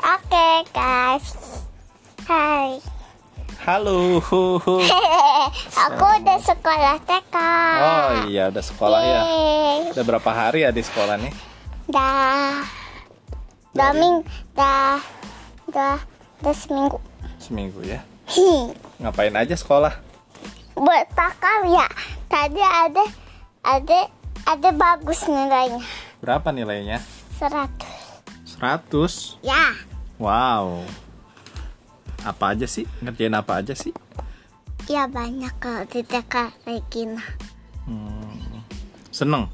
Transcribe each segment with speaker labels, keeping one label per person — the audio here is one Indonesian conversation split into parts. Speaker 1: Okay, guys. Hai.
Speaker 2: Halo.
Speaker 1: Aku udah sekolah TK.
Speaker 2: Oh iya udah sekolah ya.
Speaker 1: Yeay.
Speaker 2: Udah berapa hari ya di sekolah nih?
Speaker 1: Dah. Dah ming, dah, dah, dah seminggu.
Speaker 2: Seminggu ya.
Speaker 1: Hi.
Speaker 2: Ngapain aja sekolah?
Speaker 1: Buat pakar ya. Tadi ada, ada, ada bagus nilainya.
Speaker 2: Berapa nilainya?
Speaker 1: 100
Speaker 2: 100.
Speaker 1: Ya.
Speaker 2: Wow. Apa aja sih? Ngerjain apa aja sih?
Speaker 1: Ya banyak kalau di TK Regina.
Speaker 2: Seneng.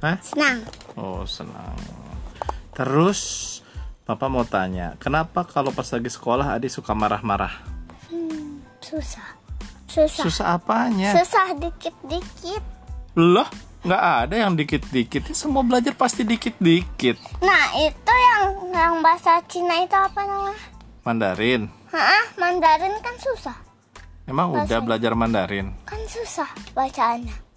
Speaker 2: Hah?
Speaker 1: Senang.
Speaker 2: Oh, senang. Terus Papa mau tanya, kenapa kalau pas lagi sekolah Adi suka marah-marah?
Speaker 1: Susah. Susah.
Speaker 2: Susah apanya?
Speaker 1: Susah dikit-dikit.
Speaker 2: Loh, nggak ada yang dikit-dikit. Semua belajar pasti dikit-dikit.
Speaker 1: Nah, itu yang yang bahasa Cina itu apa namanya?
Speaker 2: Mandarin.
Speaker 1: Hah? Mandarin kan susah.
Speaker 2: Emang udah
Speaker 1: Bahasa-
Speaker 2: belajar Mandarin?
Speaker 1: Kan susah bacaannya.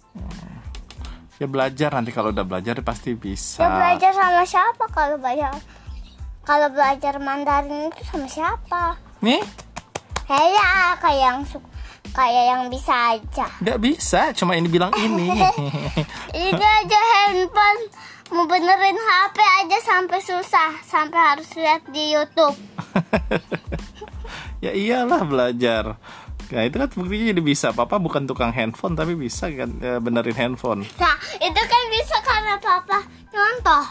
Speaker 2: Ya belajar nanti kalau udah belajar pasti
Speaker 1: Dia
Speaker 2: bisa.
Speaker 1: Ya belajar sama siapa kalau belajar kalau belajar Mandarin itu sama siapa?
Speaker 2: Nih,
Speaker 1: Kayak ya, kayak yang su- kayak yang bisa aja.
Speaker 2: nggak bisa. Cuma ini bilang ini.
Speaker 1: Ini aja handphone mau benerin HP aja sampai susah, sampai harus lihat di YouTube.
Speaker 2: ya iyalah belajar. Ya itu kan buktinya jadi bisa. Papa bukan tukang handphone tapi bisa kan ya, benerin handphone.
Speaker 1: Nah, itu kan bisa karena papa nyontoh.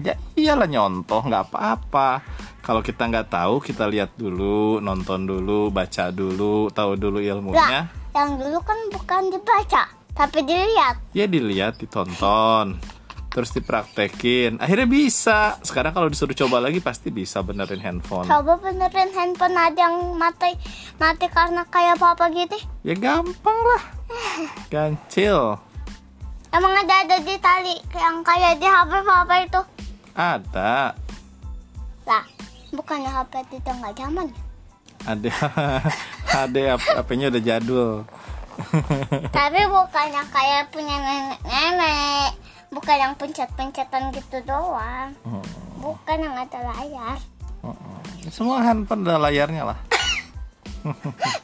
Speaker 2: Ya iyalah nyontoh, nggak apa-apa. Kalau kita nggak tahu, kita lihat dulu, nonton dulu, baca dulu, tahu dulu
Speaker 1: Nah,
Speaker 2: ilmunya.
Speaker 1: yang dulu kan bukan dibaca, tapi dilihat.
Speaker 2: Ya dilihat, ditonton, terus dipraktekin. Akhirnya bisa. Sekarang kalau disuruh coba lagi pasti bisa benerin handphone.
Speaker 1: Coba benerin handphone ada yang mati mati karena kayak papa gitu.
Speaker 2: Ya gampang lah. Gancil.
Speaker 1: Emang ada ada di tali yang kayak di HP papa itu.
Speaker 2: Ada.
Speaker 1: Lah, bukannya HP itu udah nggak zaman. ya?
Speaker 2: Ada. Ada HP-nya udah jadul.
Speaker 1: tapi bukannya kayak punya nenek-nenek. Bukan yang pencet-pencetan gitu doang. Bukan yang ada layar.
Speaker 2: Semua handphone ada layarnya lah.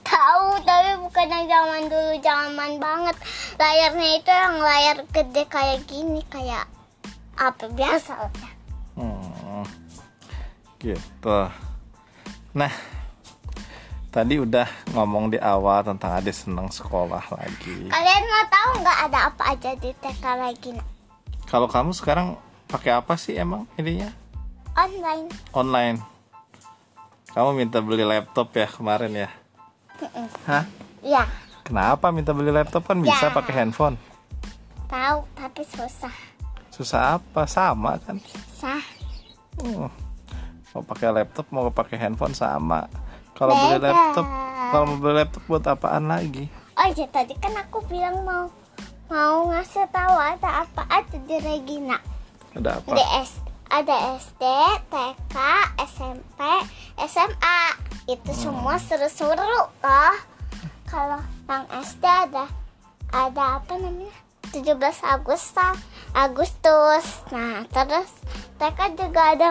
Speaker 1: Tahu, tapi bukan yang zaman dulu zaman banget. Layarnya itu yang layar gede kayak gini, kayak apa biasa. lah.
Speaker 2: Hmm. Gitu. Nah, tadi udah ngomong di awal tentang Ade senang sekolah lagi.
Speaker 1: Kalian mau tahu nggak ada apa aja di TK Regina?
Speaker 2: Kalau kamu sekarang pakai apa sih emang ininya?
Speaker 1: Online.
Speaker 2: Online. Kamu minta beli laptop ya kemarin ya?
Speaker 1: Mm-mm.
Speaker 2: Hah?
Speaker 1: Ya,
Speaker 2: Kenapa minta beli laptop kan
Speaker 1: Ya.
Speaker 2: bisa pakai handphone?
Speaker 1: tahu tapi susah.
Speaker 2: Susah apa? Sama kan?
Speaker 1: Susah.
Speaker 2: Hmm. Mau pakai laptop mau pakai handphone sama. Kalau beli
Speaker 1: Beda.
Speaker 2: laptop, kalau mau beli laptop buat apaan lagi?
Speaker 1: Oh ya tadi kan aku bilang mau mau ngasih tahu ada apa aja di Regina.
Speaker 2: Ada apa?
Speaker 1: Di S ada SD, TK, SMP, SMA. Itu semua seru-seru loh. Kalau yang SD ada ada apa namanya? 17 Agustus, Agustus. Nah, terus TK juga ada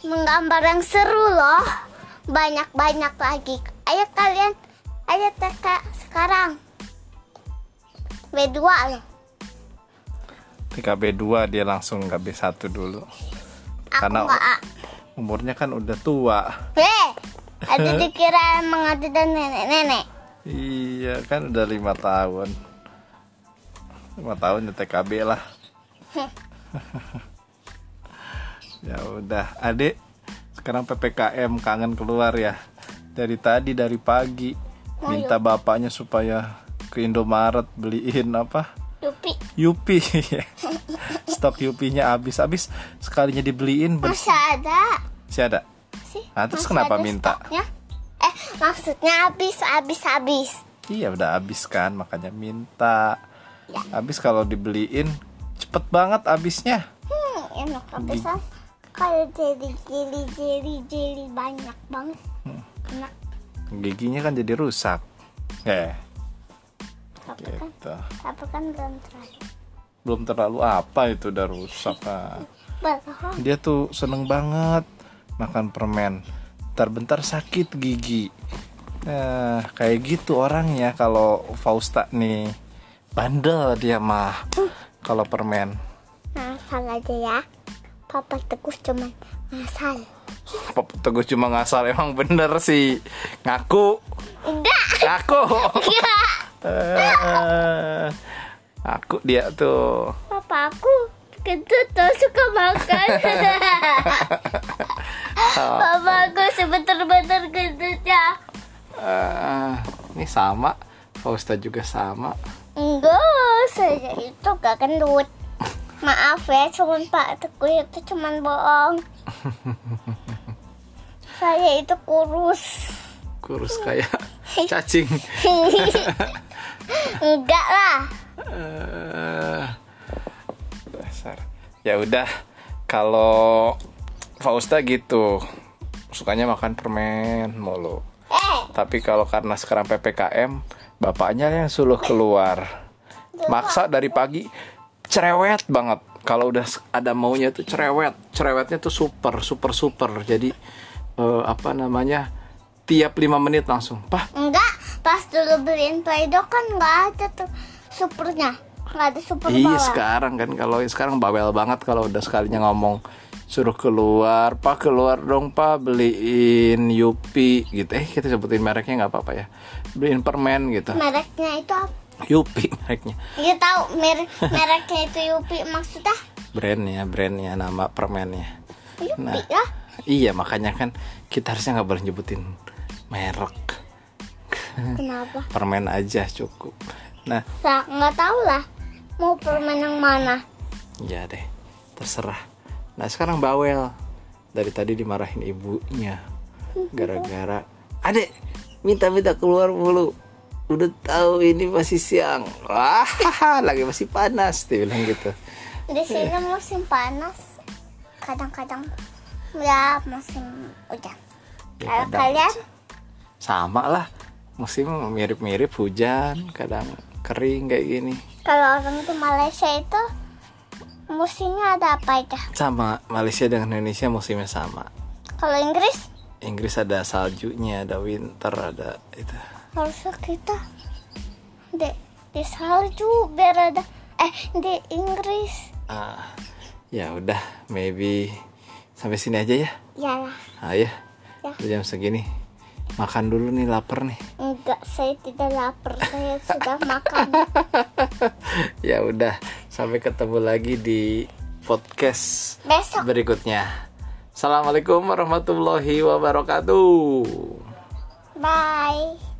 Speaker 1: menggambar yang seru loh. Banyak-banyak lagi. Ayo kalian, ayo TK sekarang. B2 loh.
Speaker 2: TKB 2 dia langsung nggak B1 dulu.
Speaker 1: Aku
Speaker 2: Karena-
Speaker 1: nggak A.
Speaker 2: Umurnya kan udah tua.
Speaker 1: Hei, ada dikira emang ada dan nenek-nenek.
Speaker 2: Iya kan udah lima tahun. Lima tahun ya TKB lah. ya udah, adik. Sekarang ppkm kangen keluar ya. Dari tadi dari pagi minta bapaknya supaya ke Indomaret beliin apa?
Speaker 1: Yupi,
Speaker 2: Yupi. Stok Yupinya habis. Habis sekalinya dibeliin ber-
Speaker 1: masa ada
Speaker 2: masih ada.
Speaker 1: sih?
Speaker 2: Nah, terus
Speaker 1: Masih
Speaker 2: kenapa
Speaker 1: ada
Speaker 2: minta?
Speaker 1: stoknya? Eh, maksudnya habis, habis, habis.
Speaker 2: Iya udah habis kan makanya minta. Habis kalau dibeliin cepet banget habisnya.
Speaker 1: Hmm, enak habisan. Kalau jadi jeli jeli jeli banyak banget.
Speaker 2: Hmm.
Speaker 1: Enak,
Speaker 2: Giginya kan jadi rusak. Eh,
Speaker 1: tapi kan,
Speaker 2: gitu.
Speaker 1: tapi kan belum terakhir.
Speaker 2: Belum terlalu apa itu udah rusak. ah.
Speaker 1: Belum.
Speaker 2: Dia tuh seneng banget makan permen bentar-bentar sakit gigi nah kayak gitu orangnya kalau Fausta nih bandel dia mah kalau permen
Speaker 1: Ngasal aja ya. Papa tegus cuman ngasal.
Speaker 2: Papa Teguh cuma ngasal emang bener sih ngaku
Speaker 1: Enggak.
Speaker 2: ngaku
Speaker 1: Enggak.
Speaker 2: Eh, aku dia tuh
Speaker 1: Papa aku kentut tuh suka makan. Papa aku sebentar-bentar ya. kentutnya.
Speaker 2: Eh, ini sama Fausta juga sama
Speaker 1: Enggak, saya itu gak kentut. Maaf ya, cuman Pak Teguh itu cuman bohong. saya itu kurus.
Speaker 2: kurus kayak cacing
Speaker 1: Enggak lah.
Speaker 2: Eh, dasar ya udah kalau Fausta gitu sukanya makan permen mulu
Speaker 1: Eh,
Speaker 2: tapi kalau karena sekarang ppkm bapaknya yang suluh keluar maksa dari pagi cerewet banget kalau udah ada maunya tuh cerewet cerewetnya tuh super super super jadi eh, apa namanya tiap lima menit langsung pah
Speaker 1: Enggak, pas dulu beliin Play-Doh kan nggak ada tuh supernya. Nggak ada super
Speaker 2: Iya
Speaker 1: bawah.
Speaker 2: sekarang kan kalau sekarang bawel banget kalau udah sekalinya ngomong suruh keluar pak keluar dong pak beliin Yupi gitu eh kita sebutin mereknya nggak apa-apa ya beliin permen gitu
Speaker 1: Mereknya itu apa?
Speaker 2: Yupi mereknya
Speaker 1: Dia tahu mer- mereknya itu Yupi maksudnya
Speaker 2: brandnya brandnya ya, nama permennya
Speaker 1: Yupi
Speaker 2: Nah.
Speaker 1: lah.
Speaker 2: iya makanya kan kita harusnya nggak boleh nyebutin merek
Speaker 1: Kenapa?
Speaker 2: permen aja cukup nah
Speaker 1: Lah, nggak tahu lah. Mau permen yang mana?
Speaker 2: ya deh terserah nah sekarang bawel dari tadi dimarahin ibunya gara-gara adek minta-minta keluar mulu udah tahu ini masih siang wah lagi masih panas dia bilang gitu
Speaker 1: Di sini musim panas. Kadang-kadang ya musim hujan.
Speaker 2: Ya,
Speaker 1: Kalau
Speaker 2: kadang
Speaker 1: kalian
Speaker 2: sama lah musim mirip-mirip hujan kadang kering kayak gini
Speaker 1: kalau orang itu Malaysia itu musimnya ada apa aja?
Speaker 2: sama Malaysia dengan Indonesia musimnya sama
Speaker 1: Kalau Inggris
Speaker 2: Inggris ada saljunya ada winter ada itu
Speaker 1: harusnya kita di di salju biar ada eh di Inggris
Speaker 2: Ah, ya udah, maybe sampai sini aja ya.
Speaker 1: iyalah
Speaker 2: Ayo,
Speaker 1: Ya.
Speaker 2: udah jam segini. Makan dulu nih, lapar nih.
Speaker 1: enggak saya tidak lapar saya sudah makan
Speaker 2: Ya udah, sampai ketemu lagi di podcast
Speaker 1: besok
Speaker 2: berikutnya. Assalamualaikum warahmatullahi wabarakatuh.
Speaker 1: bye